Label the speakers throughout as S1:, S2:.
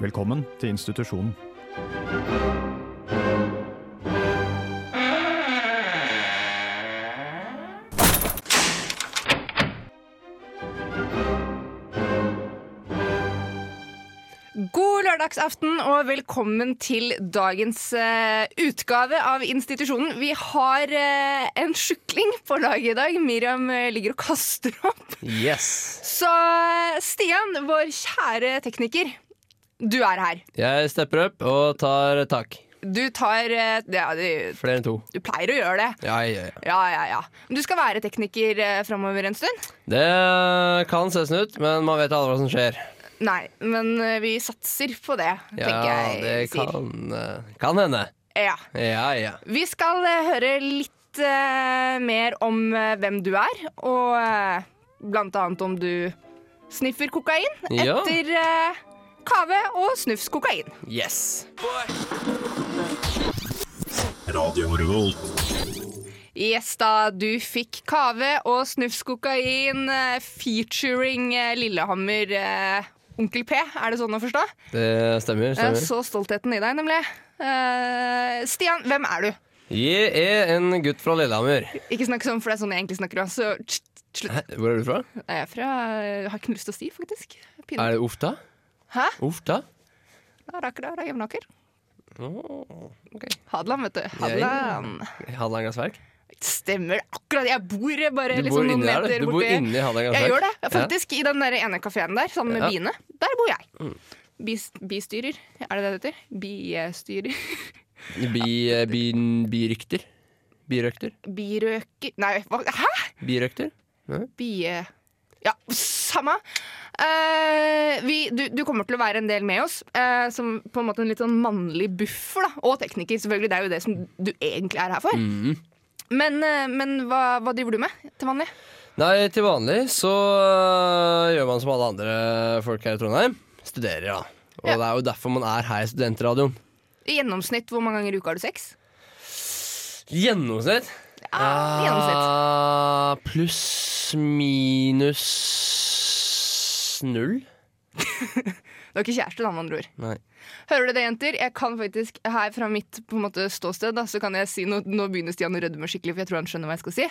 S1: Velkommen til institusjonen.
S2: God lørdagsaften og velkommen til dagens eh, utgave av Institusjonen. Vi har eh, en sjukling på laget i dag. Miriam eh, ligger og kaster opp.
S3: Yes!
S2: Så eh, Stian, vår kjære tekniker, du er her.
S3: Jeg stepper opp og tar tak.
S2: Du tar eh, Ja, du,
S3: Flere enn to.
S2: du pleier å gjøre det.
S3: Ja, ja, ja.
S2: Ja, ja, ja. Men Du skal være tekniker eh, framover en stund?
S3: Det kan se sånn ut, men man vet aldri hva som skjer.
S2: Nei, men eh, vi satser på det, tenker
S3: Ja,
S2: jeg.
S3: det
S2: sier.
S3: kan, eh, kan hende.
S2: Ja.
S3: Ja, ja.
S2: Vi skal eh, høre litt eh, mer om eh, hvem du er, og eh, blant annet om du sniffer kokain
S3: Ja.
S2: etter eh, kave og snufs kokain.
S3: Yes.
S2: Yes da, du fikk kave og snufs kokain eh, featuring eh, Lillehammer eh, Onkel P, er det sånn å forstå?
S3: Det stemmer.
S2: Jeg
S3: stemmer.
S2: så stoltheten i deg, nemlig. Eh, Stian, hvem er du?
S3: Jeg er E en gutt fra Lillehammer.
S2: Ikke snakk sånn, for det er sånn jeg egentlig snakker. Så tss, slutt.
S3: Hæ, Hvor er du fra?
S2: Jeg er fra Jeg har ikke noe lyst til å si, faktisk. Pinlig.
S3: Er det Ofta?
S2: Hæ?
S3: Ofta?
S2: Da raker det, da Jevnaker.
S3: Oh, ok.
S2: Hadeland, vet du. Hadeland.
S3: Hadelangasverk?
S2: Stemmer det akkurat. Jeg bor bare
S3: Du
S2: liksom,
S3: bor
S2: noen
S3: inni der,
S2: meter
S3: du. Du bor
S2: borti.
S3: inni Hadelangasverk.
S2: Jeg gjør det, faktisk. I den der ene kafeen der, sammen med
S3: Ja. Mm.
S2: biene. Der bor jeg. Bis, bistyrer, er det det det heter? Bistyrer?
S3: Ja. Bi, eh, bi, birykter? Birøkter?
S2: Birøker Nei, hva? hæ?
S3: Birøkter?
S2: Bie... Ja, samme. Eh, vi, du, du kommer til å være en del med oss, eh, som på en måte en litt sånn mannlig buffer. da Og tekniker, selvfølgelig. Det er jo det som du egentlig er her for.
S3: Mm.
S2: Men, eh, men hva, hva driver du med til vanlig?
S3: Nei, til vanlig så øh, gjør man som alle andre folk her i Trondheim. Studerer, da. Og
S2: Ja.
S3: det er jo derfor man er her i studentradioen.
S2: I gjennomsnitt, hvor mange ganger i uka har du sex?
S3: Gjennomsnitt?
S2: Ja, i gjennomsnitt.
S3: Ah, Pluss minus null.
S2: Du har ikke kjæreste, da, med andre ord.
S3: Nei.
S2: Hører du det, jenter? Jeg kan faktisk, her fra mitt på en måte, ståsted, da, så kan jeg si Nå, nå begynner Stian å rødme skikkelig, for jeg tror han skjønner hva jeg skal si.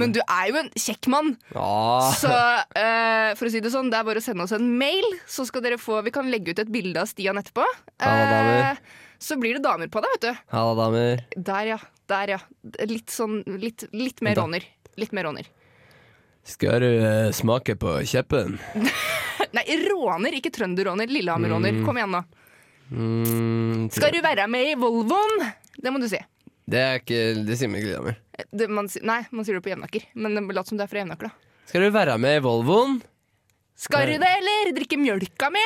S2: Men du er jo en kjekk mann!
S3: Ja.
S2: Så eh, for å si det sånn, det er bare å sende oss en mail, så skal dere få Vi kan legge ut et bilde av Stian etterpå.
S3: Ja, damer.
S2: Eh, så blir det damer på deg, vet du.
S3: Halla, damer.
S2: Der, ja. Der, ja. Litt sånn Litt, litt mer
S3: Da.
S2: råner. Litt mer råner.
S3: Skal du eh, smake på kjeppen?
S2: Nei, råner, ikke trønderråner. Lillehammer-råner. Kom igjen, nå.
S3: Mm,
S2: Skal du være med i Volvoen? Det må du si.
S3: Det er ikke Det sier man ikke, damer.
S2: Det, man, si- nei, man sier det på Jevnaker, men det lat som det er fra Jevnaker, da.
S3: Skal du være med i Volvoen?
S2: Skal du det, eller? Drikke mjølka mi?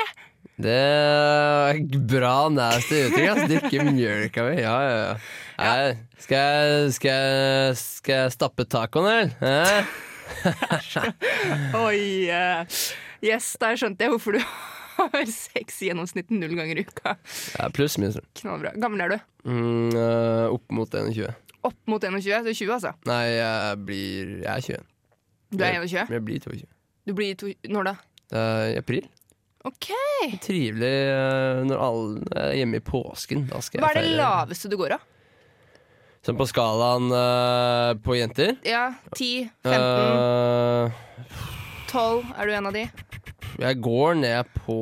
S3: Det er bra nasty uttrykk. ass. Drikke mjølk av Ja, ja, ja. Nei, Skal, jeg, skal, jeg, skal jeg stappe tacoen, eller? Hæ?
S2: Oi. eh, Yes, der skjønte jeg hvorfor du har sex i gjennomsnitt null ganger i uka.
S3: Ja, pluss minus.
S2: Knallbra. Gammel er du?
S3: Mm, øh, opp mot 21.
S2: Opp mot 21. Du er 20, altså.
S3: Nei, jeg blir Jeg er 21.
S2: Du er 21.
S3: Men jeg blir 22.
S2: Du blir to... Når da?
S3: Det er i april.
S2: OK.
S3: Trivelig øh, når alle er hjemme i påsken. Da skal jeg
S2: Hva er det
S3: feire.
S2: laveste du går av?
S3: Sånn på skalaen øh, på jenter.
S2: Ja, 10, 15,
S3: Øh,
S2: 12. Er du en av de?
S3: Jeg går ned på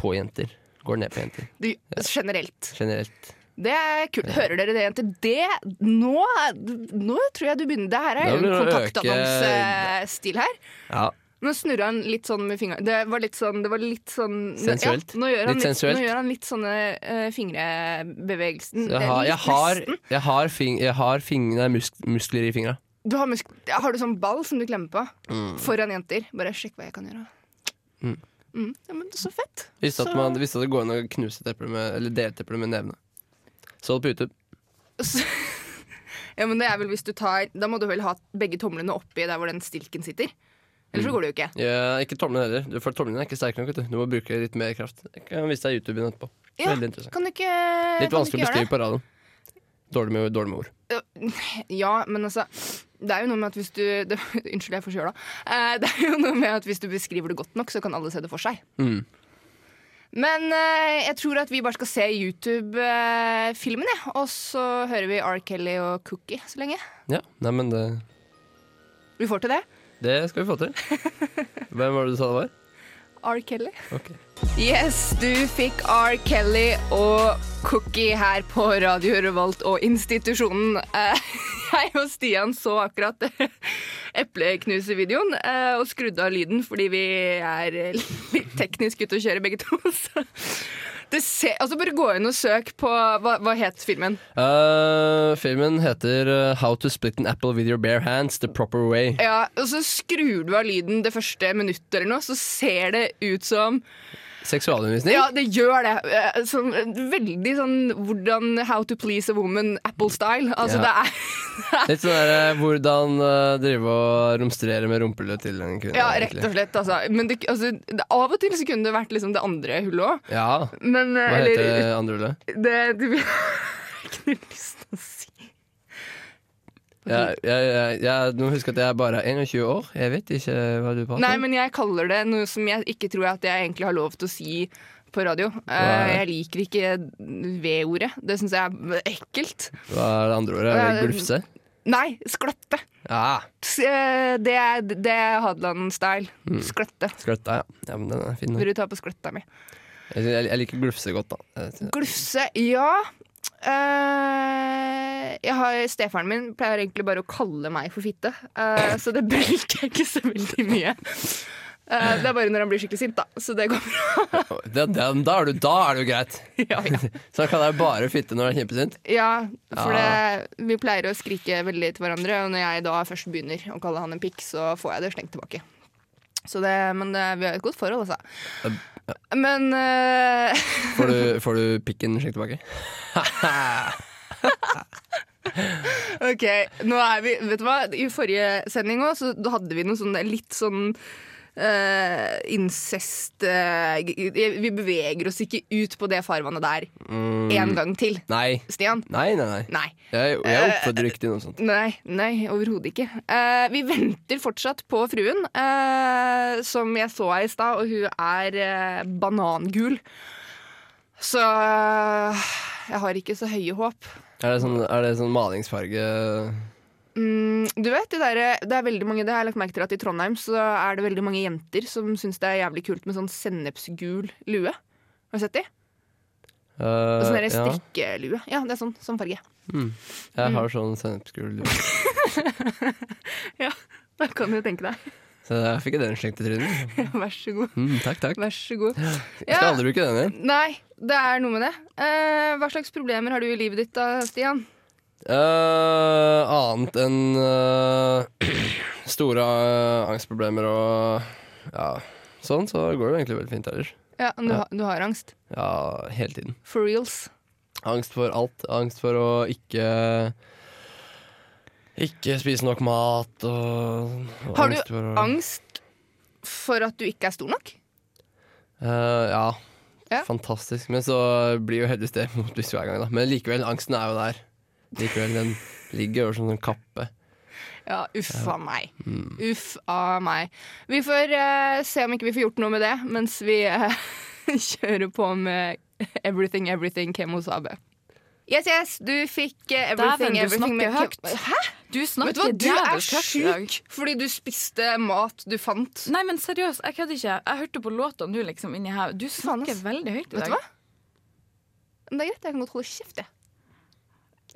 S3: På jenter. Går ned på jenter,
S2: Du, generelt.
S3: generelt.
S2: Det er kult. Hører dere det, jenter? Det Nå, nå tror jeg du begynner. Det her er
S3: Da
S2: jo en
S3: blir det å øke-
S2: kontaktannonsestil her.
S3: Ja,
S2: Nå snurra han litt sånn med fingrene. Det var litt sånn, det var litt sånn
S3: Sensuelt.
S2: Ja, nå, gjør han
S3: Litt
S2: litt,
S3: sensuelt.
S2: nå gjør han litt sånne eh, fingrebevegelsen.
S3: jeg har,
S2: Litt
S3: jeg har,
S2: nesten.
S3: jeg har, fing, jeg har fing, nei, mus, muskler i fingra.
S2: Du har, musk ja, har du sånn ball som du klemmer på
S3: Mm.
S2: foran jenter? Bare sjekk hva jeg kan gjøre. Mm. Ja, men så fett.
S3: Visste at,
S2: Så-
S3: man- visste at det går an å knuse et eple med Eller dele et eple med nevene. Så det på YouTube.
S2: Så- Ja, men det er vel hvis du tar Da må du vel ha begge tomlene oppi der hvor den stilken sitter. Ellers så
S3: Mm.
S2: går det jo ikke.
S3: Ja, ikke tomlene heller, Du- for tomlene er ikke sterke nok. Vet du. du må bruke litt mer kraft. Jeg kan vise deg YouTube etterpå.
S2: Ja,
S3: Veldig interessant.
S2: Kan du ikke
S3: Litt
S2: kan du ikke gjøre
S3: vanskelig å
S2: det?
S3: beskrive på radioen. Dårlig med, dårlig med ord.
S2: Ja, men altså Det er jo noe med at hvis du det, Unnskyld, jeg får kjøla. Eh, det er jo noe med at hvis du beskriver det godt nok, så kan alle se det for seg.
S3: Mm.
S2: Men eh, jeg tror at vi bare skal se YouTube-filmen, jeg. Og så hører vi R. Kelly og Cookie så lenge.
S3: Ja, nei, men det,
S2: Vi får til det.
S3: det skal vi få til. Hvem var det du sa det var?
S2: R. Kelly.
S3: Ok.
S2: Yes, du fikk R. Kelly og Cookie her på Radio Revolt og institusjonen. Eh, Jeg og Stian så akkurat epleknusevideoen eh, og skrudde av lyden fordi vi er eh, litt teknisk ute og kjører begge to. Så det ser, altså bare gå inn og søk på Hva, hva het filmen?
S3: Eh, filmen heter eh, How to split an apple with your bare hands the proper way.
S2: Ja, og Så skrur du av lyden det første minuttet, eller noe, så ser det ut som
S3: Seksualundervisning?
S2: Ja, det gjør det. Eh, Sånn, veldig sånn hvordan How to please a woman, Apple-style. Altså, det
S3: Ja.
S2: er
S3: Litt sånn der, eh, hvordan eh, drive og romstrere med rumpehullet til en kvinne.
S2: Ja, rett og slett, altså. Men det, altså, det, av og til så kunne det vært liksom det andre hullet òg.
S3: Ja.
S2: Men eh,
S3: Hva heter
S2: eller,
S3: det andre hullet?
S2: det? det, det Jeg har ikke noe lyst til å si
S3: Jeg, jeg, jeg, jeg, nå husker jeg at jeg er bare 21 år. Jeg vet ikke hva du prater om.
S2: Nei, men jeg kaller det noe som jeg ikke tror at jeg egentlig har lov til å si på radio. Eh,
S3: Nei.
S2: jeg liker ikke V-ordet. Det syns jeg er ekkelt.
S3: Hva er det andre ordet? Er det
S2: Eh,
S3: glufse?
S2: Nei, skløtte.
S3: Ja.
S2: S- eh, Det er, det er Hadeland-style. Skløtte.
S3: Skløtta, ja. ja. Men den er fin. den.
S2: Vil du ta på skløtta mi?
S3: Jeg, jeg, jeg liker glufse godt, da. Jeg-
S2: Glufse, ja. Eh, jeg har, Stefaren min pleier egentlig bare å kalle meg for fitte, eh, så det bruker jeg ikke så veldig mye. Eh, det er bare når han blir skikkelig sint, da. Så det går bra.
S3: Det, den- da, er du, da er det jo greit.
S2: Ja, ja.
S3: Så da kan jeg bare fitte når jeg er kjempesint.
S2: ja for
S3: Ja.
S2: det, vi pleier å skrike veldig til hverandre, og når jeg da først begynner å kalle han en pikk, så får jeg det slengt tilbake. Så det, men det, vi har et godt forhold, altså. Men eh,
S3: Får du, får du pikken slengt tilbake?
S2: Ok, nå er vi Vet du hva, i forrige sending også, så da hadde vi noe sånn litt sånn eh, incest eh, g- Vi beveger oss ikke ut på det farvannet der
S3: Mm,
S2: en gang til.
S3: nei.
S2: Stian?
S3: Nei, nei, nei.
S2: Nei.
S3: Jeg, jeg oppfordrer ikke til noe sånt.
S2: Nei, nei, overhodet ikke. Eh, vi venter fortsatt på fruen, eh, som jeg så her i stad, og hun er eh, banangul. Så eh, jeg har ikke så høye håp.
S3: Er det sånn, er det sånn malingsfarge eh,
S2: Mm, du vet, det, der, det er veldig mange, det har jeg lagt merke til at i Trondheim så er det veldig mange jenter som syns det er jævlig kult med sånn sennepsgul lue. Har du sett de?
S3: Eh,
S2: Og sånn der
S3: ja,
S2: strikkelue. Ja, det er sånn, sånn farge.
S3: jeg har sånn sennepsgul lue.
S2: Ja, da kan du tenke deg.
S3: Så jeg fikk den slengt i trynet.
S2: Vær så god.
S3: Mm, takk, takk.
S2: Vær så god.
S3: Jeg skal aldri bruke den igjen.
S2: Nei, det er noe med det. Eh, hva slags problemer har du i livet ditt da, Stian?
S3: Eh, annet enn eh, store eh, angstproblemer og ja, sånn, så går det jo egentlig veldig fint ellers.
S2: Ja, du, ha- du har angst.
S3: Ja, hele tiden.
S2: For reals.
S3: Angst for alt. Angst for å ikke ikke spise nok mat og, og
S2: Har du
S3: angst for å-
S2: Angst for at du ikke er stor nok?
S3: Eh, ja.
S2: Ja.
S3: Fantastisk. Men så blir jo heldigvis det motbevist hver gang, da. Men likevel, angsten er jo der. Likevel, den ligger jo som en kappe.
S2: Ja, uff a meg. Uff a meg. Vi får eh, se om ikke vi får gjort noe med det mens vi eh, kjører på med Everything Everything Kemo Sabe. Yes, yes, du fikk eh, Everything
S1: Dæven, du
S2: Everything
S1: snakker
S2: Kem-
S1: høyt.
S2: Hæ?
S1: Du
S2: Vet
S1: snakker
S2: du hva, du er
S1: jævlig tøft i dag.
S2: sjuk fordi du spiste mat du fant.
S1: Nei, men seriøst, jeg kødder ikke. Jeg hørte på låta nå, liksom, inni her. Du
S2: Faen,
S1: snakker
S2: ass.
S1: veldig høyt i
S2: Vet du
S1: dag.
S2: hva? Men Det er greit, jeg kan godt holde kjeft, jeg.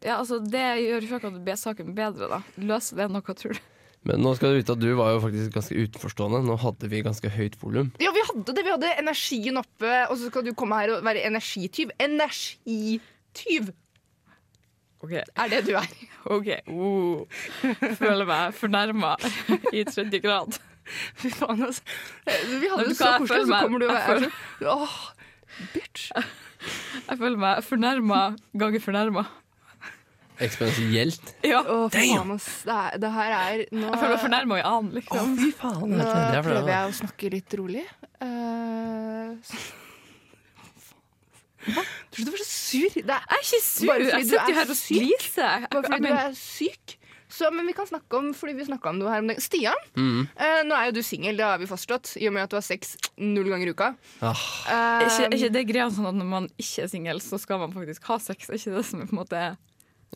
S1: Ja, altså, det gjør ikke akkurat B-saken bedre, da. Løser det noe, tror du?
S3: Men nå skal du vite at du var jo faktisk ganske utenforstående. Nå hadde vi ganske høyt volum.
S2: Ja, vi hadde det. Vi hadde energien oppe, og så skal du komme her og være energityv. Energityv
S1: OK.
S2: er det du er.
S1: ok.
S2: Oh.
S1: Uh. Føler meg fornærma i tredje grad.
S2: Fy faen, altså. Vi hadde det
S1: Vet
S2: så
S1: du hva,
S2: koselig,
S1: jeg
S2: og så
S1: føler meg-
S2: kommer du og
S1: jeg
S2: er sånn Åh, bitch.
S1: Jeg føler meg fornærma ganger fornærma.
S3: Eksponentielt.
S1: Ja.
S2: Åh, faen, ass. Det, er, det her er Nå,
S1: Jeg føler meg fornærma i annen, liksom.
S3: fy faen.
S2: nå
S3: det er for
S2: prøver
S3: det, da.
S2: jeg å snakke litt rolig. Eh, Tror du du var så sur? Det er
S1: Jeg er ikke sur.
S2: Bare fordi
S1: Jeg
S2: du
S1: sitter
S2: er
S1: jo her og
S2: syk.
S1: skviser.
S2: bare fordi du er syk, Så, men vi kan snakke om fordi vi snakket om noe her om dagen. Stian,
S1: Mm.
S2: eh, nå er jo du singel, det har vi fastslått, i og med at du har sex null ganger i uka.
S3: Ah,
S2: Eh,
S1: Er ikke, er ikke det greia sånn at når man ikke er singel, så skal man faktisk ha sex? Er ikke det som er på en måte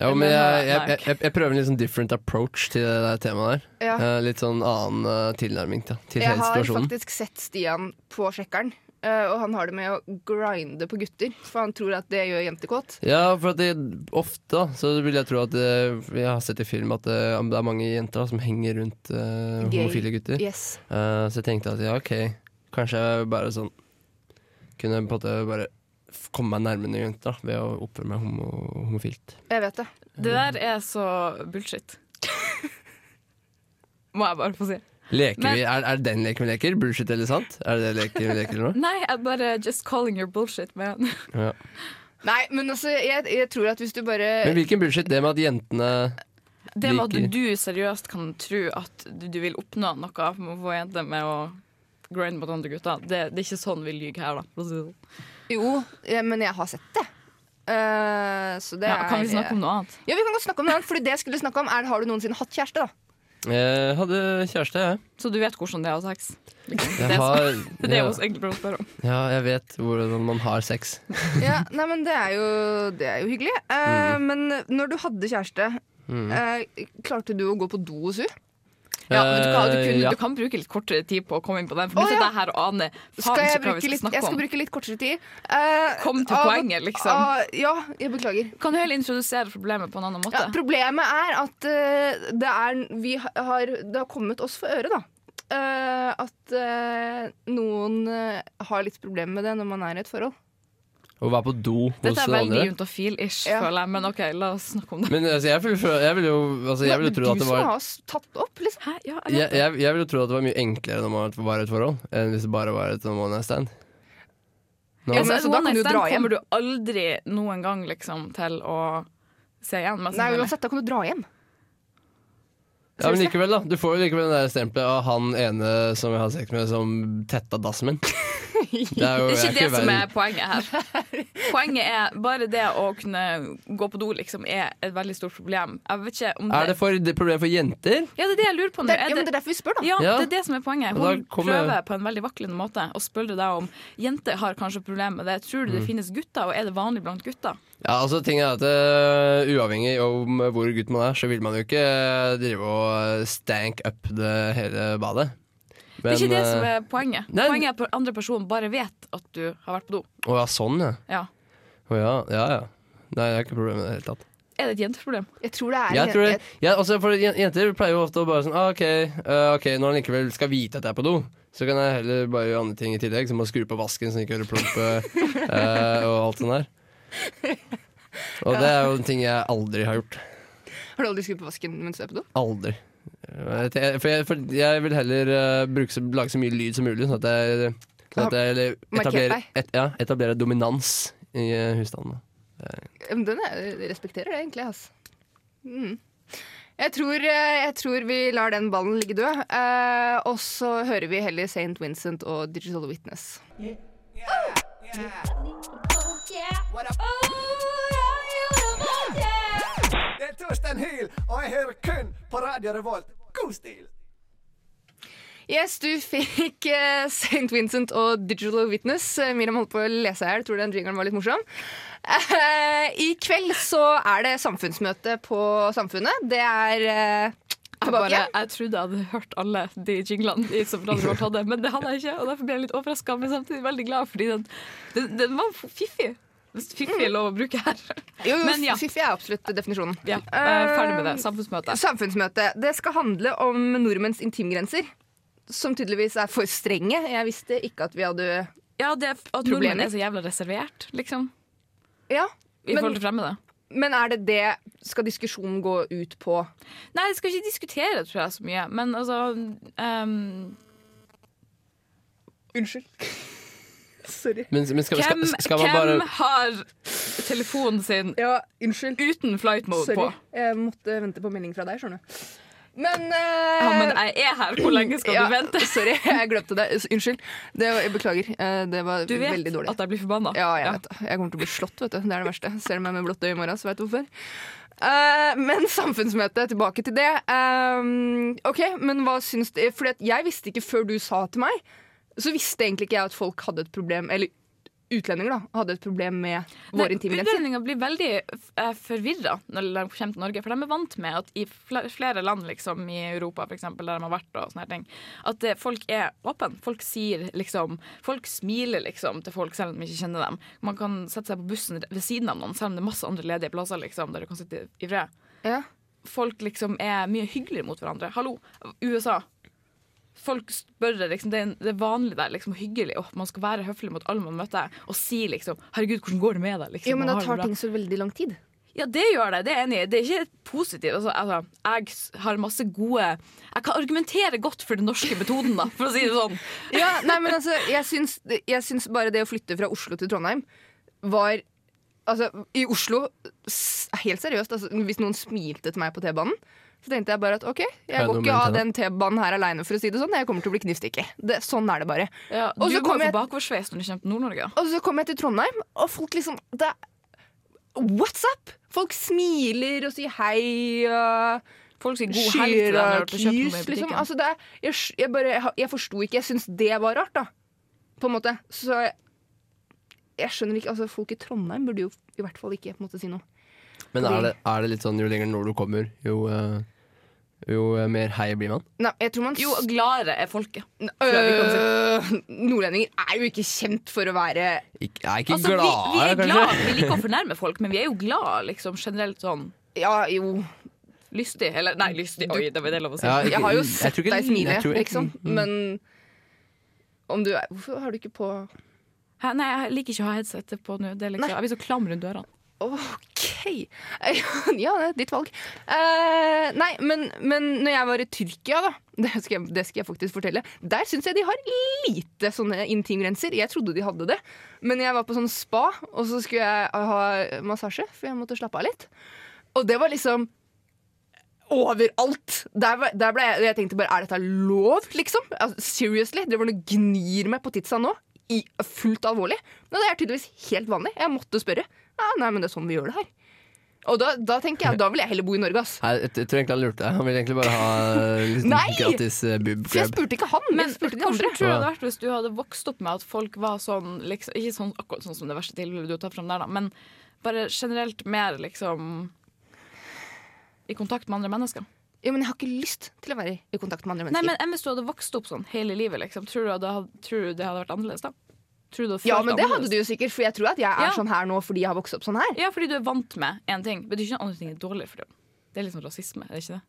S3: jo, men jeg, jeg, jeg, jeg prøver en litt sånn different approach til det der temaet der.
S2: Ja.
S3: Eh, litt sånn annen eh, tilnærming til, til
S2: Jeg
S3: hele
S2: har
S3: situasjonen.
S2: faktisk sett Stian på sjekkeren, eh, og han har det med å grinde på gutter. For han tror at det gjør jenter kåt.
S3: Ja, for at det, ofte da, så vil jeg tro at eh, Jeg har sett i film at eh, det er mange jenter da, som henger rundt eh,
S2: Gay.
S3: homofile gutter.
S2: Yes.
S3: Eh, så jeg tenkte at ja, ok, kanskje jeg bare sånn Kunne på en måte bare f- komme meg nærmere noen jenter da, ved å oppføre meg homo homofilt.
S2: Jeg vet det.
S1: Det der er så bullshit. Må jeg bare få si.
S3: Leker
S1: Men-
S3: vi, er, er det den leken vi leker? Bullshit eller sant? Er det det leken vi leker nå?
S1: Nei, jeg bare just calling your bullshit, man.
S3: Ja.
S2: Nei, men altså, jeg, jeg tror at hvis du
S3: Men
S2: bare
S3: hvilken bullshit? Det med at jentene
S1: Det med
S3: Liker.
S1: at du seriøst kan tro at du du vil oppnå noe med å få jenter med å grind mot andre gutter, det, det er ikke sånn vi lyver her, da. for å si det sånn.
S2: Jo, ja, men jeg har sett det. Eh, så det
S1: Ja, kan
S2: er
S1: vi snakke om noe annet?
S2: Ja, vi kan godt snakke om det. annet, Fordi det jeg skulle snakke om, er har du noensinne hatt kjæreste, da?
S3: eh, hadde kjæreste, jeg.
S1: Så du vet hvordan det er å ha sex?
S3: Jeg
S1: Det er-
S3: har,
S1: Det er
S3: ja,
S1: jo egentlig bra å spørre om.
S3: ja, jeg vet hvordan man har sex.
S2: Ja, nei, men det er jo, det er jo hyggelig. Eh, Men når du hadde kjæreste, eh, klarte du å gå på do og su?
S1: Ja, men du, kan, du,
S3: Eh,
S1: kunne,
S3: ja.
S1: du kan bruke litt kortere tid på å komme inn på den, for
S2: Å,
S1: nå sitter
S2: ja.
S1: jeg her og aner
S2: Skal
S1: faen
S2: jeg,
S1: ikke hva vi
S2: bruke
S1: skal
S2: litt, jeg
S1: snakke
S2: skal
S1: om.
S2: bruke litt kortere tid. Eh,
S1: Kom til
S2: av-
S1: poenget, liksom.
S2: av- ja, jeg beklager.
S1: Kan du heller introdusere problemet på en annen måte?
S2: Ja, problemet er at eh, det, er, vi har, det har kommet oss for øre, da. Eh, at eh, noen eh, har litt problemer med det når man er i et forhold.
S3: Å være på do hos
S1: Dette er
S3: noen
S1: veldig
S3: andre.
S1: juntafil-ish,
S2: Ja.
S1: føler jeg, men OK, la oss snakke om det.
S3: Men altså, jeg vil, føle- jeg vil jo altså, jeg vil jo
S2: Det er
S3: tro at
S2: du
S3: det
S2: som
S3: var
S2: har s- tatt opp, liksom.
S1: Hæ? Ja, jeg
S3: jeg,
S1: vet det.
S3: jeg, jeg vil jo tro at det var mye enklere når man var i et forhold, enn hvis det bare var et sånn one night stand.
S2: Ja,
S3: Nå,
S2: men altså, da
S1: one
S2: kan du
S1: night stand
S2: dra hjem.
S1: kommer du aldri noen gang liksom, til å se igjen.
S2: Nei,
S1: mest sannsynlig.
S2: uansett, da kan du dra hjem.
S3: ja, men likevel, da. Du får jo likevel det der stempelet av han ene som jeg hadde sex med, som tetta dassen min. Det er jo
S1: Det er
S3: jeg
S1: ikke det som
S3: verre-
S1: er poenget her. Poenget er bare det å kunne gå på do, liksom, er et veldig stort problem. Jeg vet ikke om det
S3: Er det for det er problem for jenter?
S1: Ja, det er det jeg lurer på nå.
S2: Det er,
S1: Er
S2: ja, men
S1: det-
S2: det er derfor vi spør, da.
S1: Ja,
S3: Ja.
S1: det er det som er poenget.
S3: Og da
S1: Hun
S3: kommer-
S1: prøver på en veldig vaklende måte å spørre deg om jenter har kanskje problemer med det. Tror
S3: Mm.
S1: du det finnes gutter, og er det vanlig blant gutter?
S3: Ja, altså ting er at øh, Uavhengig om hvor gutt man er, så vil man jo ikke øh, drive og øh, stank up det hele badet.
S1: det er ikke det
S3: øh,
S1: som er poenget.
S3: nei,
S1: poenget er at den andre personen bare vet at du har vært på do.
S3: Å ja, sånn, ja.
S1: Ja.
S3: Å ja, ja, ja. Nei, jeg har ikke problem med det i det hele tatt.
S1: Er det et jenteproblem?
S2: Jeg tror det er
S3: Jeg tror det, ja, altså, for jen- Jenter pleier jo ofte å bare sånn ah, okay, eh, ok, når han likevel skal vite at jeg er på do, så kan jeg heller bare gjøre andre ting i tillegg, som å skru på vasken så den ikke hører plump eh, og alt sånt der. Og det er jo en ting jeg aldri har gjort.
S2: Har du aldri skrudd på vasken mens du er på do?
S3: Aldri. Eh, jeg- For jeg, for jeg vil heller eh, bruke så, lage så mye lyd som mulig, sånn at jeg, sånn at jeg eller,
S2: Markert
S3: etablerer,
S2: deg.
S3: et, ja, etablerer dominans i eh, husstandene.
S2: Ja, men Den er, jeg respekterer det egentlig, ass. Mm. Jeg, tror, eh, jeg tror vi lar den ballen ligge død. Eh, og så hører vi heller St. Vincent og Digital Witness.
S4: Det er Torstein Hyl, og jeg hører kun på Radio Revolt. God stil!
S2: Yes, du fikk eh, St. Vincent og Digital Witness. Eh, Miriam holdt på å lese her. Tror den jingeren var litt morsom. Eh, I kveld så er det samfunnsmøte på Samfunnet. Det er eh,
S1: Jeg,
S2: tilbake.
S1: bare, jeg trodde jeg hadde hørt alle de jinglene de som Radio Revolt hadde, men det hadde jeg ikke. Og derfor ble jeg litt overraska, men samtidig veldig glad, fordi den, den, den var fiffig. Hvis Fiffig er lov å bruke her.
S2: Jo, jo,
S1: Men ja.
S2: Fifi er absolutt definisjonen.
S1: Ja, um, jeg er ferdig med det. Samfunnsmøte.
S2: Samfunnsmøte. Det skal handle om nordmenns intimgrenser. Som tydeligvis er for strenge. Jeg visste ikke at vi hadde
S1: Ja, det at
S2: Problemer?
S1: nordmenn er så jævla reservert, liksom.
S2: Ja.
S1: I
S2: Men,
S1: forhold til fremmede.
S2: men er det det Skal diskusjonen gå ut på?
S1: Nei, jeg skal ikke diskutere tror jeg, så mye, men altså ehm,
S2: Unnskyld. Sorry.
S3: Men, men skal, skal,
S1: Hvem,
S3: skal man bare
S1: hvem har telefonen sin
S2: Ja, unnskyld.
S1: uten flight mode
S2: Sorry.
S1: på?
S2: Jeg måtte vente på melding fra deg, skjønner du. Men, eh,
S1: Ja, men jeg er her. Hvor lenge skal
S2: ja,
S1: du vente?
S2: Sorry, jeg glemte det. Unnskyld. Det, jeg beklager. Eh, Det var
S1: Du vet
S2: veldig dårlig.
S1: at jeg blir forbanna.
S2: Ja, jeg vet det. Jeg kommer til å bli slått, vet du. Det er det verste. Ser du meg med blått øye i morgen, så vet du hvorfor. Eh, men samfunnsmøte, tilbake til det. Eh, ok, men hva syns du Fordi at jeg visste ikke før du sa til meg, så visste egentlig ikke jeg at folk hadde et problem Eller utlendinger, da. Hadde et problem med våre
S1: Nei,
S2: intimgrenser.
S1: Utlendinger blir veldig uh, forvirra når de kommer til Norge, for de er vant med at i fl- flere land liksom, i Europa, for eksempel, der de har vært, og sånne her ting, at eh, folk er åpne. Folk sier liksom Folk smiler liksom til folk selv om de ikke kjenner dem. Man kan sette seg på bussen ved siden av noen, selv om det er masse andre ledige plasser liksom, der du kan sitte i fred.
S2: Ja.
S1: Folk liksom er mye hyggeligere mot hverandre. Hallo, USA. Folk spør deg, liksom, det, er en- det er vanlig der, liksom, hyggelig, og man skal være høflig mot alle man møter, og si liksom 'herregud, hvordan går det med deg?' Liksom,
S2: Jo, men
S1: og
S2: da
S1: har det
S2: tar
S1: bra.
S2: ting så veldig lang tid.
S1: Ja, det gjør det. Det er jeg enig i. Det er ikke positivt. Altså, altså, jeg s- har masse gode Jeg kan argumentere godt for den norske metoden, da, for å si det sånn.
S2: Ja, nei, men altså, jeg syns, jeg syns bare det å flytte fra Oslo til Trondheim var Altså, i Oslo, s- helt seriøst, altså, hvis noen smilte til meg på T-banen, så tenkte jeg bare at OK, jeg
S3: Jeg
S2: går
S3: nå
S2: ikke
S3: mente
S2: av
S3: det.
S2: den T-banen her aleine, for å si det sånn. Jeg kommer til å bli knivstukket. Det- Sånn er det bare.
S1: du
S2: Og så
S1: går
S2: kom
S1: for
S2: jeg-
S1: bakoversveis når du kommer til Nord-Norge. da.
S2: Og så kom jeg til Trondheim, og folk liksom det, What's up? Folk smiler og sier hei. og
S1: Folk sier god helg til
S2: Skyr
S1: deg når du
S2: og
S1: kjøper noe i
S2: kys,
S1: butikken.
S2: liksom. Altså, det, er- jeg, sk- jeg, bare, jeg, jeg forsto ikke. Jeg syns det var rart, da. På en måte. Så jeg, jeg skjønner ikke altså, Folk i Trondheim burde jo i hvert fall ikke på en måte, si noe.
S3: Men er det, er det litt sånn jo lenger nord du kommer, jo, eh, jo eh, mer hei blir man?
S2: Nei, jeg tror man
S1: Jo gladere er folket.
S2: øh, Nordlendinger er jo ikke kjent for å være
S3: Ikke, er ikke
S1: Altså, vi,
S3: glad,
S1: vi er
S3: kanskje?
S1: glad, vi liker å fornærme folk, men vi er jo glad liksom, generelt sånn
S2: Ja, jo.
S1: lystig. Eller nei, lystig, oi, det var det lov å si.
S3: Ja, ikke-
S2: Jeg har jo
S3: jeg
S2: sett
S3: tror ikke- Mm.
S2: deg smile,
S3: jeg tror-
S2: liksom. Men om du er Hvorfor har du ikke på
S1: Hæ, Nei, jeg liker ikke å ha headsetet på nå. Det er liksom,
S2: Nei.
S1: jeg blir så klam rundt dørene.
S2: OK! Ja, det er ditt valg. Eh, nei, men, men når jeg var i Tyrkia, da, det skal jeg, det skal jeg faktisk fortelle, der syns jeg de har lite sånne intimgrenser. Jeg trodde de hadde det, men jeg var på sånn spa, og så skulle jeg ha massasje, for jeg måtte slappe av litt. Og det var liksom Overalt! Der, var- der ble jeg, og jeg tenkte bare Er dette lov, liksom? Altså, seriously? Driver du og gnir meg på titsa nå? I, fullt alvorlig? Nå, det er tydeligvis helt vanlig. Jeg måtte spørre. Ja, nei, men det er sånn vi gjør det her. Og da, da tenker jeg, da vil jeg heller bo i Norge, ass.
S3: Nei, jeg, jeg tror egentlig han lurte deg. Han ville egentlig bare ha eh, litt
S2: Nei!
S3: gratis eh, boob
S2: For jeg
S3: grab.
S2: spurte ikke han, men
S1: Men
S2: jeg spurte de
S1: hvordan
S2: andre.
S1: tror du det hadde vært hvis du hadde vokst opp med at folk var sånn liksom, Ikke sånn, akkurat sånn som det verste tilfellet du har tatt fram der, da, men bare generelt mer liksom i kontakt med andre mennesker.
S2: Ja, men jeg har ikke lyst til å være i kontakt med andre
S1: Nei,
S2: mennesker.
S1: men Hvis du hadde vokst opp sånn hele livet, liksom, tror, du hadde, tror du det hadde vært annerledes da? Tror du det hadde
S2: ja,
S1: følt
S2: men det hadde du
S1: annerledes?
S2: jo sikkert, for jeg tror at jeg er
S1: Ja.
S2: sånn her nå fordi jeg har vokst opp sånn her.
S1: Ja, fordi du er vant med én ting. Betyr ikke at andre ting er dårlig for deg. Det er litt sånn rasisme, er det ikke det?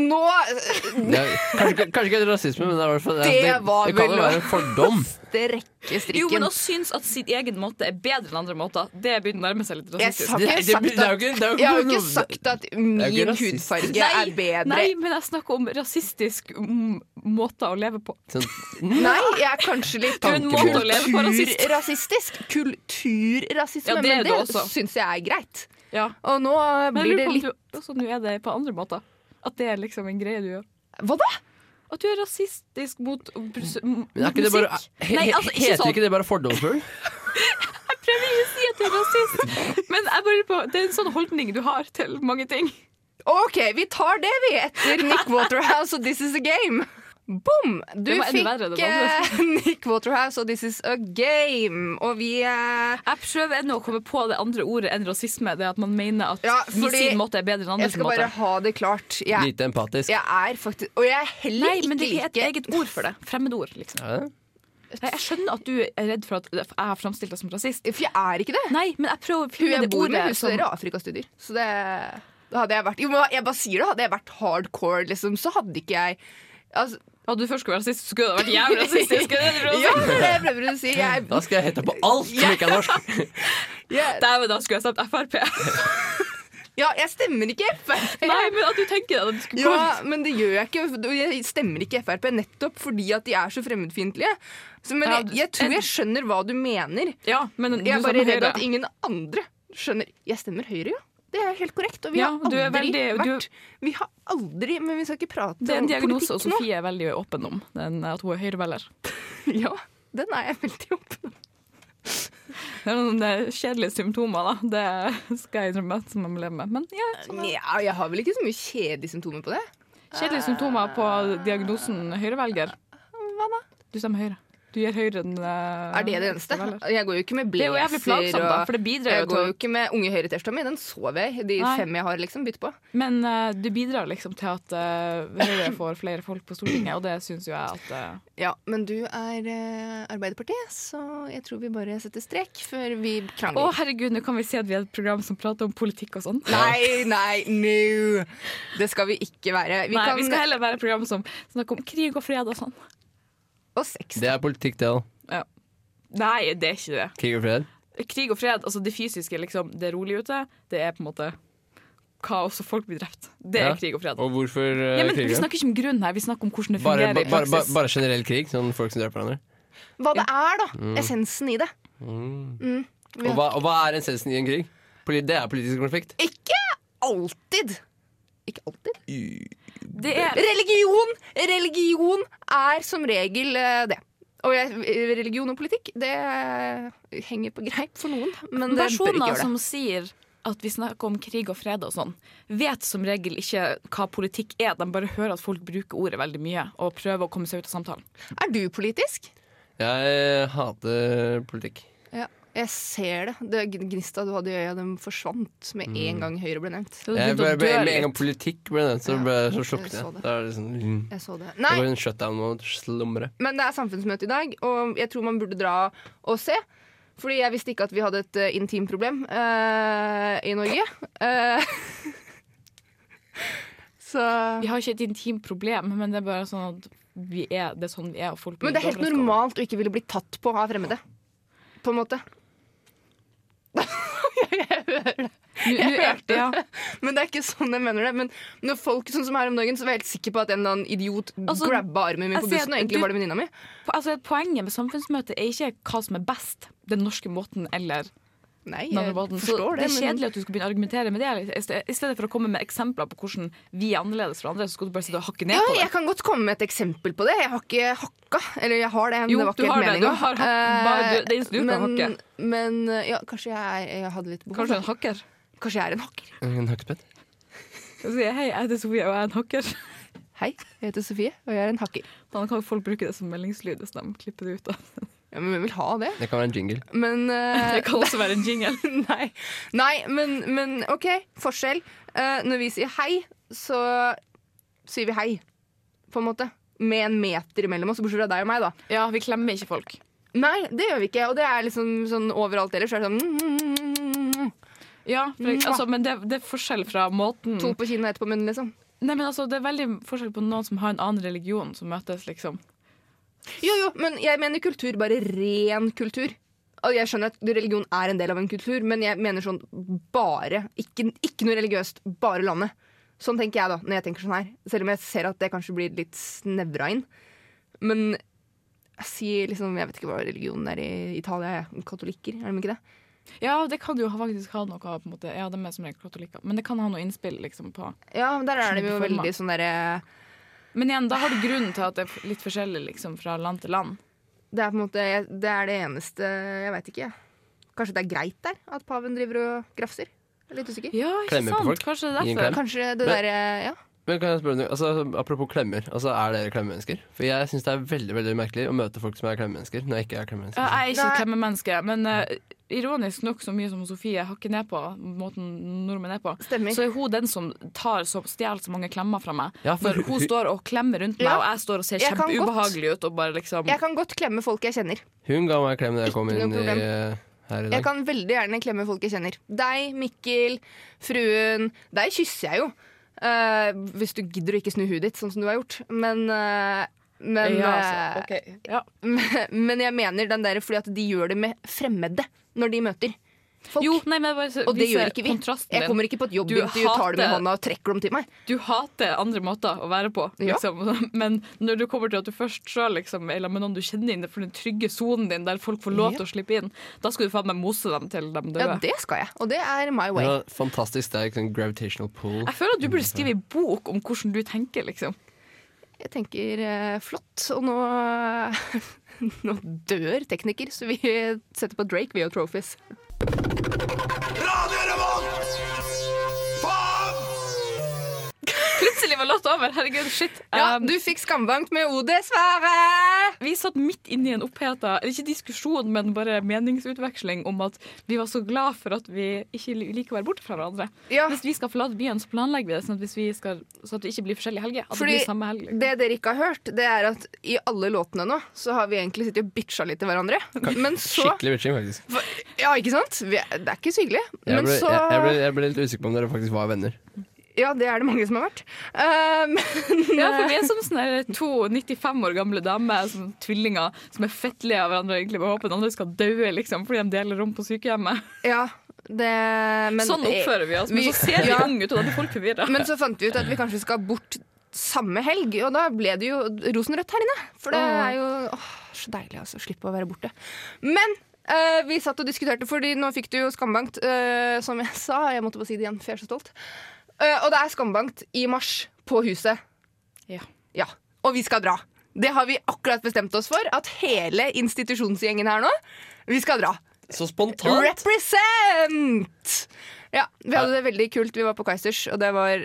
S2: Nå eh,
S3: Det er- Kanskje, ikke- kanskje ikke helt rasisme, men det, er i hvert fall,
S2: Det var
S3: det kan
S2: vel
S3: jo være en fordom.
S2: det rekker strikken.
S1: Jo, men å synes at sin egen måte er bedre enn andre måter, det begynner å nærme seg litt
S2: Jeg
S1: rasistisk.
S2: har
S3: Det,
S2: ikke
S3: det, det
S2: sagt
S3: er jo
S2: at,
S3: ikke, det er jo
S2: jeg har jo
S3: noe-
S2: ikke sagt at
S3: er jo ikke
S2: min
S3: rasist.
S2: hudfarge er bedre.
S1: Nei, men jeg snakker om rasistisk mm, måte å leve på.
S3: sånn,
S2: Nei, jeg er kanskje litt
S1: Kun måte å leve på, rasist.
S2: kulturrasistisk. Kulturrasisme,
S1: Ja, det er
S2: men
S1: det også.
S2: det syns jeg er greit.
S1: Ja.
S2: Og nå
S1: Men
S2: blir
S1: jeg
S2: det
S1: lurer
S2: litt
S1: på om du også nå er det på andre måter. At det er liksom en greie du gjør.
S2: Hva da?
S1: At du er rasistisk mot brus- m-
S3: men er ikke det bare,
S1: musikk.
S3: he,
S1: Nei,
S3: he,
S1: altså, ikke
S3: heter
S1: sånn.
S3: ikke det bare fordomsfull?
S1: Prøver ikke å si at du er rasist, men jeg bare lurer på, det er en sånn holdning du har til mange ting.
S2: OK, vi tar det, vi, etter Nick Waterhouse og This Is A Game. Bom! Du
S1: Det var enda
S2: fikk
S1: verre, det var
S2: eh, Nick Waterhouse og This Is A Game, og vi eh,
S1: Jeg prøver ennå å komme på det andre ordet enn rasisme. Det er at man mener at
S2: Ja,
S1: min
S2: fordi-
S1: sin måte er bedre enn
S2: Jeg
S1: andres
S2: skal bare
S1: måte.
S2: ha det klart. Jeg,
S3: Lite empatisk.
S2: jeg er faktisk Og jeg er heller
S1: Nei, men det
S2: ikke
S1: er et eget ord for det. Fremmedord, liksom.
S3: Er det?
S1: Nei, Jeg skjønner at du er redd for at jeg har framstilt deg som rasist.
S2: For jeg er ikke det.
S1: Nei, men jeg sånn. prøver å
S2: Hun
S1: finne
S2: jeg
S1: det
S2: bor med,
S1: ordet
S2: hun studerer Afrikastudier. Så det, da hadde jeg vært Jo, men jeg bare sier det. Hadde jeg vært hardcore, liksom, så hadde ikke jeg altså,
S1: Hadde du først skulle være rasist, så skulle du ha vært jævlig rasistisk. Det er det du prøver å
S2: Ja,
S1: si.
S2: det er det jeg prøver å si. Jeg,
S3: Da skal jeg hete på alt som ikke er norsk!
S2: jeg,
S1: Dæven, da skulle jeg stemt Frp.
S2: ja, jeg stemmer ikke Frp.
S1: Nei, men at du tenker deg at du skulle
S2: Ja,
S1: komme
S2: men det gjør jeg ikke. og Jeg stemmer ikke Frp, nettopp fordi at de er så fremmedfiendtlige. Så, men
S1: Ja,
S2: jeg,
S1: du-
S2: jeg tror jeg skjønner hva du mener.
S1: Ja, men du
S2: Jeg er
S1: som
S2: bare
S1: hører
S2: redd at ingen andre skjønner. Jeg stemmer Høyre, ja. Det er helt korrekt. Og vi
S1: Ja,
S2: har
S1: du
S2: aldri
S1: er veldig- du-
S2: vært Vi har aldri Men vi skal ikke prate
S1: Det er en
S2: om
S1: diagnose
S2: politikk nå.
S1: Sofie er veldig åpen om, den, at hun er høyrevelger.
S2: Ja, den er jeg veldig åpen om.
S1: Det er noen eh, kjedelige symptomer, da. Det skal jeg innrømme at man må leve med. Men ja, sånn er det.
S2: Nja, jeg har vel ikke så mye kjedelige symptomer på det.
S1: kjedelige symptomer på diagnosen høyrevelger.
S2: Hva da?
S1: Du stemmer høyre. Du gjør høyre enn eh,
S2: Er det det eneste? Jeg går jo ikke med
S1: Det
S2: blazer.
S1: er jo jævlig plagsomt, da, for det bidrar
S2: Jeg
S1: jo
S2: går
S1: til
S2: jo ikke med Unge Høyre-T-skjorta mi. Den sover jeg i. De
S1: Nei.
S2: fem jeg har, liksom. Bytt på.
S1: Men eh, det bidrar liksom til at eh, Høyre får flere folk på Stortinget, og det syns jo jeg at eh,
S2: Ja, Men du er eh, Arbeiderpartiet, så jeg tror vi bare setter strek før vi
S1: Å,
S2: krangler.
S1: herregud, nå kan vi si at vi er et program som prater om politikk og sånn.
S2: Nei, nei, no! Det skal vi ikke være. Vi
S1: Nei,
S2: kan
S1: vi skal heller være et program som snakker om krig og fred og sånn.
S2: Og sex.
S3: Det er politikk, det, da.
S1: Nei, det er ikke det.
S3: Krig og fred.
S1: Krig og fred, altså det fysiske, liksom, det er rolig ute. Det er på en måte kaos og folk blir drept. Det er
S3: Ja.
S1: krig og fred.
S3: Og hvorfor uh,
S1: Ja, men Vi
S3: kriger?
S1: snakker ikke om grunn her, vi snakker om hvordan det
S3: Bare,
S1: fungerer
S3: ba,
S1: i
S3: bare, ba,
S1: praksis.
S3: bare generell krig, sånn folk som dreper hverandre.
S2: Hva det er, da. Essensen i det.
S3: Og hva, og hva er essensen i en krig? Poli- Det er politisk konflikt.
S2: Ikke alltid. Ikke alltid.
S1: Det er
S2: Religion! Religion er som regel eh, det. Og jeg, eh, religion og politikk, det eh, henger på greip for noen, men det bør ikke
S1: personer
S2: gjøre det.
S1: som sier at vi snakker om krig og fred og sånn, vet som regel ikke hva politikk er. De bare hører at folk bruker ordet veldig mye og prøver å komme seg ut av samtalen.
S2: Er du politisk?
S3: Jeg eh, hater politikk.
S2: Ja, jeg ser det. Det gn- Gnista du hadde i øya, den forsvant med
S3: Mm.
S2: en gang Høyre ble nevnt.
S1: Så det
S3: Jeg
S1: begynte
S3: ble,
S1: å
S3: ble,
S1: dø
S3: med en
S1: litt.
S3: gang politikk ble nevnt, så,
S2: Ja,
S3: ble, så
S2: jeg
S3: slokket
S2: så
S3: jeg.
S2: det.
S3: Da er det sånn mm.
S2: Jeg så det.
S3: Det
S2: Nei,
S3: var en shutdown mode. Slumre.
S2: men det er samfunnsmøte i dag, og jeg tror man burde dra og se. Fordi jeg visste ikke at vi hadde et eh, intimproblem eh, i Norge. Eh, så
S1: Vi har ikke et intimt problem, men det er bare sånn at vi er, det er sånn vi er. Og folk blir
S2: Men det er helt
S1: overrasket.
S2: normalt å ikke ville bli tatt på av fremmede. På en måte.
S1: Nå- nå-
S2: hørte
S1: ja.
S2: Men det er ikke sånn jeg mener det. Men når folk sånn som her om dagen, så var jeg helt sikker på at en eller annen idiot
S1: Altså,
S2: grabba armen min
S1: jeg
S2: på
S1: ser-
S2: bussen, og egentlig
S1: du-
S2: var det venninna mi.
S1: Po- Altså, poenget med samfunnsmøtet er ikke hva som er best, den norske måten eller
S2: Nei,
S1: den andre måten. Så det er kjedelig at du skal begynne å argumentere med det. eller- I sted- i stedet for å komme med eksempler på hvordan vi er annerledes fra andre, så skal du bare sitte og hakke ned
S2: ja,
S1: på
S2: jeg
S1: det.
S2: kan godt komme med et eksempel på det. Jeg har ikke hakka. Eller jeg har det, men
S1: Jo,
S2: det var
S1: du
S2: ikke helt
S1: har det. Du
S2: meninga.
S1: har hakk- bare du- det eneste du kan
S2: men,
S1: hakke.
S2: men eh, ja, kanskje jeg, er- jeg hadde litt behov.
S1: Kanskje en hakker.
S2: Kanskje jeg er en hakker.
S3: En hakkespett?
S1: Så sier jeg hei, jeg heter Sofie, og jeg er en hakker.
S2: Hei, jeg heter Sofie, og jeg er en hakker.
S1: Da kan folk bruke det som meldingslyd hvis de klipper det ut. Da.
S2: Ja, men hvem vil ha det?
S3: Det kan være en jingle.
S2: Men eh,
S1: Det kan også være en jingle.
S2: Nei, Nei men, men OK, forskjell. Eh, når vi sier hei, så sier vi hei, på en måte. Med en meter imellom oss, bortsett fra deg og meg, da.
S1: Ja, vi klemmer ikke folk.
S2: Nei, det gjør vi ikke. Og det er liksom sånn mm, overalt ellers. så Er det sånn
S1: Ja, for, altså, men det, det er forskjell fra måten
S2: To på kinnet, ett på munnen, liksom.
S1: Nei, men altså, Det er veldig forskjell på noen som har en annen religion, som møtes, liksom.
S2: Jo, jo, men jeg mener kultur, bare ren kultur. Og jeg skjønner at religion er en del av en kultur, men jeg mener sånn bare. Ikke, ikke noe religiøst, bare landet. Sånn tenker jeg da, når jeg tenker sånn her. Selv om jeg ser at det kanskje blir litt snevra inn. Men jeg sier liksom Jeg vet ikke hva religionen er i Italia. jeg. Katolikker, er de ikke det?
S1: Ja, det kan jo ha- faktisk ha noe på en måte. Ja, de er som regel katolikker, men det kan ha noe innspill liksom, på
S2: Ja, men der er de jo
S1: Skjønner
S2: veldig sånn derre
S1: Men igjen, da har du grunnen til at det er litt forskjellig liksom, fra land til land.
S2: Det er på en måte Det er det eneste Jeg veit ikke, jeg. Kanskje det er greit der at paven driver og grafser? Jeg er litt usikker.
S1: Ja, ikke
S3: Klemmer på
S1: sant?
S3: folk.
S1: Kanskje det
S3: Gi en
S1: er derfor.
S2: Kanskje det
S3: Men-
S2: derre Ja.
S3: Men kan jeg spørre om noe? altså, Apropos klemmer. Altså, er dere klemmemennesker? For jeg syns det er veldig veldig merkelig å møte folk som er klemmemennesker. Når jeg ikke er
S1: Ja,
S3: klemmemennesker
S1: Jeg er ikke et
S2: Nei.
S1: klemmemenneske, men eh, ironisk nok, så mye som Sofie hakker ned på måten nordmenn er på,
S2: Stemmer.
S1: så er hun den som tar så, stjeler så mange klemmer fra meg.
S3: Ja, for
S1: Når hun
S3: hun-
S1: står og klemmer rundt meg,
S2: Ja.
S1: og jeg står og ser
S2: Jeg kan godt.
S1: kjempeubehagelig ut og bare liksom
S3: Mm.
S2: Jeg kan godt klemme folk jeg kjenner.
S3: Hun ga meg en klem da jeg kom
S2: Ikke
S3: inn
S2: noe
S3: i,
S2: problem.
S3: eh, her i
S2: Jeg
S3: dag.
S2: kan veldig gjerne klemme folk jeg kjenner. Deg, Mikkel, fruen. Deg kysser jeg jo. Eh, hvis du gidder å ikke snu huet ditt, sånn som du har gjort. Men, eh, men,
S1: ja, altså,
S2: eh,
S1: ok. ja.
S2: men jeg mener den der fordi at de gjør det med fremmede når de møter. folk.
S1: Jo, nei, men jeg bare
S2: og det gjør ikke vi.
S1: kontrasten
S2: Jeg
S1: din.
S2: kommer ikke på et
S1: Du
S2: jobbintervju, tar det med
S1: hater-
S2: hånda og trekker dem til meg.
S1: Du hater andre måter å være på,
S2: Ja.
S1: liksom. men når du kommer til at du først sjøl liksom, er sammen med noen du kjenner inn for den trygge sonen din, der folk får lov
S2: Ja.
S1: til å slippe inn, da skal du faen meg mose dem til de døde.
S2: Ja, det skal jeg. Og det er my way.
S3: Ja, fantastisk sterk sånn gravitational pull.
S1: Jeg føler at du burde skrive en bok om hvordan du tenker, liksom.
S2: Jeg tenker eh, flott, og nå, nå dør tekniker, så vi setter på Drake via Trophies.
S1: Plutselig var låta over. Herregud, shit.
S2: Ja,
S1: Um,
S2: du fikk skambank med OD, Sverre!
S1: vi satt midt inne i en oppheta eller Ikke diskusjon, men bare meningsutveksling om at vi var så glad for at vi ikke li- liker å være borte fra hverandre.
S2: Ja,
S1: Hvis vi skal forlate byen, så planlegger vi det sånn at, hvis vi skal, så at det ikke blir forskjellige helger. At
S2: Fordi
S1: det blir samme helg. liksom.
S2: det dere ikke har hørt, det er at i alle låtene nå, så har vi egentlig sittet og bitcha litt til hverandre. Men så
S3: Skikkelig bitching, faktisk.
S2: Ja, ikke sant? Vi er, det er ikke så hyggelig.
S3: Jeg
S2: Men
S3: ble,
S2: så
S3: jeg, jeg, ble, jeg ble litt usikker på om dere faktisk var venner.
S2: Ja, det er det mange som har vært. Um,
S1: Ja, for vi er som sånne her to 95 år gamle damer, som tvillinger, som er fettlige av hverandre egentlig, og håper den andre skal daue liksom, fordi de deler rom på sykehjemmet.
S2: ja, det men,
S1: sånn oppfører vi oss, men
S2: vi-
S1: så ser vi
S2: ja.
S1: unge ut, og da blir folk forvirra.
S2: Men så fant vi ut at vi kanskje skal bort samme helg, og da ble det jo rosenrødt her inne. For det
S1: Åh.
S2: er jo åh, så deilig altså, å slippe å være borte. Men eh, vi satt og diskuterte, fordi nå fikk du jo skambankt, eh, som jeg sa. Jeg måtte bare si det igjen, for jeg er så stolt. Eh, og det er skambankt i mars på huset.
S1: Ja.
S2: Ja. Og vi skal dra. Det har vi akkurat bestemt oss for, at hele institusjonsgjengen her nå, vi skal dra.
S3: Så spontant!
S2: Represent! Ja, vi hadde det veldig kult. Vi var på Kaizers, og det var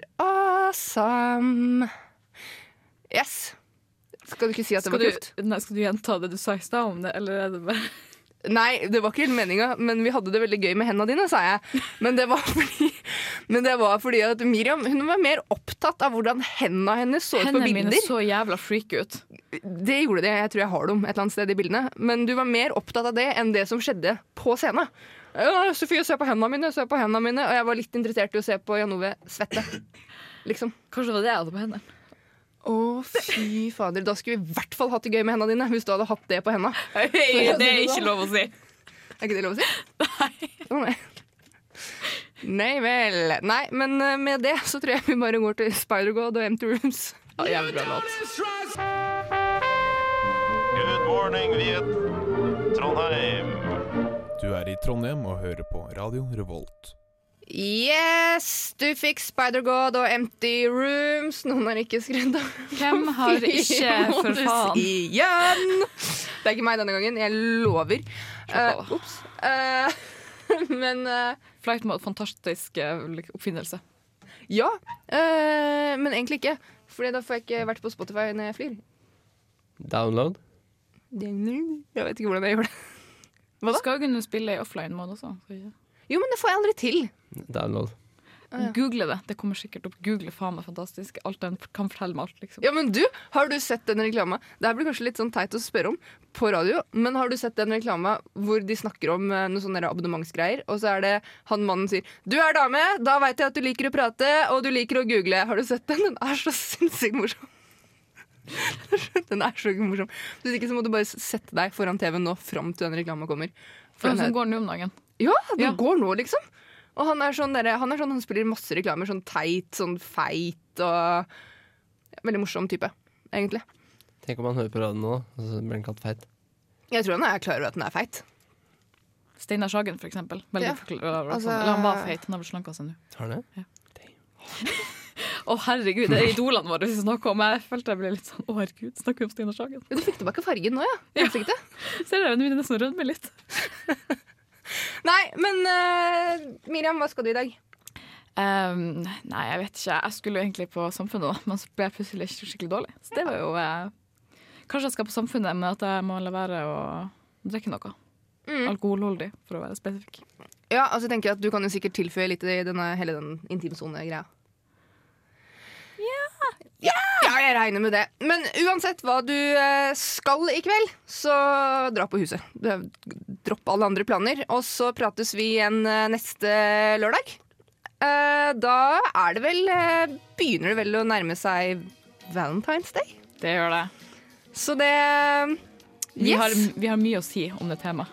S2: awesome. Yes. Skal du ikke si at det
S1: Skal
S2: var
S1: du,
S2: kult?
S1: nei, skal du gjenta det du sa i stad om det, eller er det bare
S2: Nei, det var ikke helt meninga, men vi hadde det veldig gøy med hendene dine, sa jeg. Men det var fordi, men det var fordi at Miriam hun var mer opptatt av hvordan hendene hennes så ut på
S1: Hendene mine
S2: bilder.
S1: så jævla freak ut.
S2: Det gjorde det. Jeg tror jeg har dem et eller annet sted i bildene. Men du var mer opptatt av det enn det som skjedde på scenen. «Ja, Sofie, se på hendene mine, se på hendene mine. Og jeg var litt interessert i å se på Jan Ove svette. Liksom.
S1: Kanskje det var det jeg hadde på hendene.
S2: Å, fy fader. Da skulle vi i hvert fall hatt det gøy med hendene dine. Hvis du hadde hatt det på hendene.
S1: det er ikke lov å si.
S2: Er ikke det lov å si? Nei. nei. Nei vel. Nei, men eh, med det så tror jeg vi bare går til Spider-God og Empty Rooms.
S1: Ja, jævlig bra låt.
S5: Good morning, Viet. Trondheim.
S6: Du er i Trondheim og hører på Radio Revolt.
S2: Yes! Du fikk Spider-God og Empty Rooms. Noen har ikke skrudd av.
S1: Hvem har ikke, for
S2: Modus
S1: faen?
S2: Igjen! Det er ikke meg denne gangen, jeg lover.
S1: Slapp
S2: Eh,
S1: av.
S2: Ops. Eh, men eh,
S1: Flight mode, fantastisk eh, oppfinnelse.
S2: ja. Eh, men egentlig ikke. Fordi da får jeg ikke vært på Spotify når jeg flyr.
S3: Download.
S2: Jeg vet ikke hvordan jeg gjør det.
S1: Hva da? Skal jo kunne spille i offline mode også. så ja.
S2: Jo, men det får jeg aldri til.
S3: Download.
S2: ja.
S1: Google det. Det kommer sikkert opp. Google faen meg fantastisk. Alt den f- kan fortelle meg alt, liksom.
S2: Ja, men du, Har du sett den reklama? Det her blir kanskje litt sånn teit å spørre om på radio, men har du sett den reklama hvor de snakker om eh, noen sånne abonnementsgreier, og så er det han mannen sier 'Du er dame, da veit jeg at du liker å prate, og du liker å google'. Har du sett den? Den er så sinnssykt morsom. Den er så morsom. Hvis ikke så må du bare sette deg foran TV nå fram til den reklama kommer. For
S1: For den
S2: den
S1: som
S2: er,
S1: går nå om dagen.
S2: ja, den
S1: Ja.
S2: går nå, liksom. Og han er, sånn derre- han er sånn, han spiller masse reklamer, sånn teit, sånn feit og Veldig morsom type, egentlig.
S3: Tenk om han hører på radioen nå, og så blir han kalt feit.
S2: Jeg tror han er klar over at den er feit.
S1: Steinar Sagen, for eksempel. Veldig
S2: Ja.
S1: forklar-
S2: Altså-
S1: Eller han var feit. Han har blitt slanka seg nå.
S3: Har han det?
S1: Å, herregud, det er idolene våre vi snakker om. Jeg følte jeg ble litt sånn Å, herregud, snakker vi om Steinar Sagen?
S2: Du fikk tilbake fargen nå, ja. i Ansiktet.
S1: Ser dere, den begynner nesten å rødme litt.
S2: Nei, men eh, Miriam, hva skal du i dag?
S1: Ehm, nei, jeg vet ikke. Jeg skulle jo egentlig på Samfunnet, da, men så ble jeg plutselig sk- skikkelig dårlig. Så det var jo eh, Kanskje jeg skal på Samfunnet, men at jeg må la være å drikke noe.
S2: Mm.
S1: Alkoholholdig, for å være spesifikk.
S2: Ja, altså jeg tenker at Du kan jo sikkert tilføye litt i denne, hele den intimsone-greia. Ja. ja, jeg regner med det. Men uansett hva du eh, skal i kveld, så dra på huset. Du- eh, Dropp alle andre planer. Og så prates vi igjen eh, neste lørdag. Eh, da er det vel eh, Begynner det vel å nærme seg Valentine's Day?
S1: Det gjør det.
S2: Så det
S1: Vi,
S2: Yes.
S1: har, vi har mye å si om det temaet.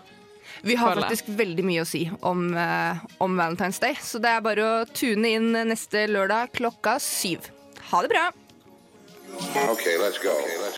S2: Vi har
S1: Føler jeg.
S2: faktisk veldig mye å si om, eh, om Valentine's Day, så det er bare å tune inn neste lørdag klokka syv. Ha det bra!
S7: Okay, let's go. Okay, let's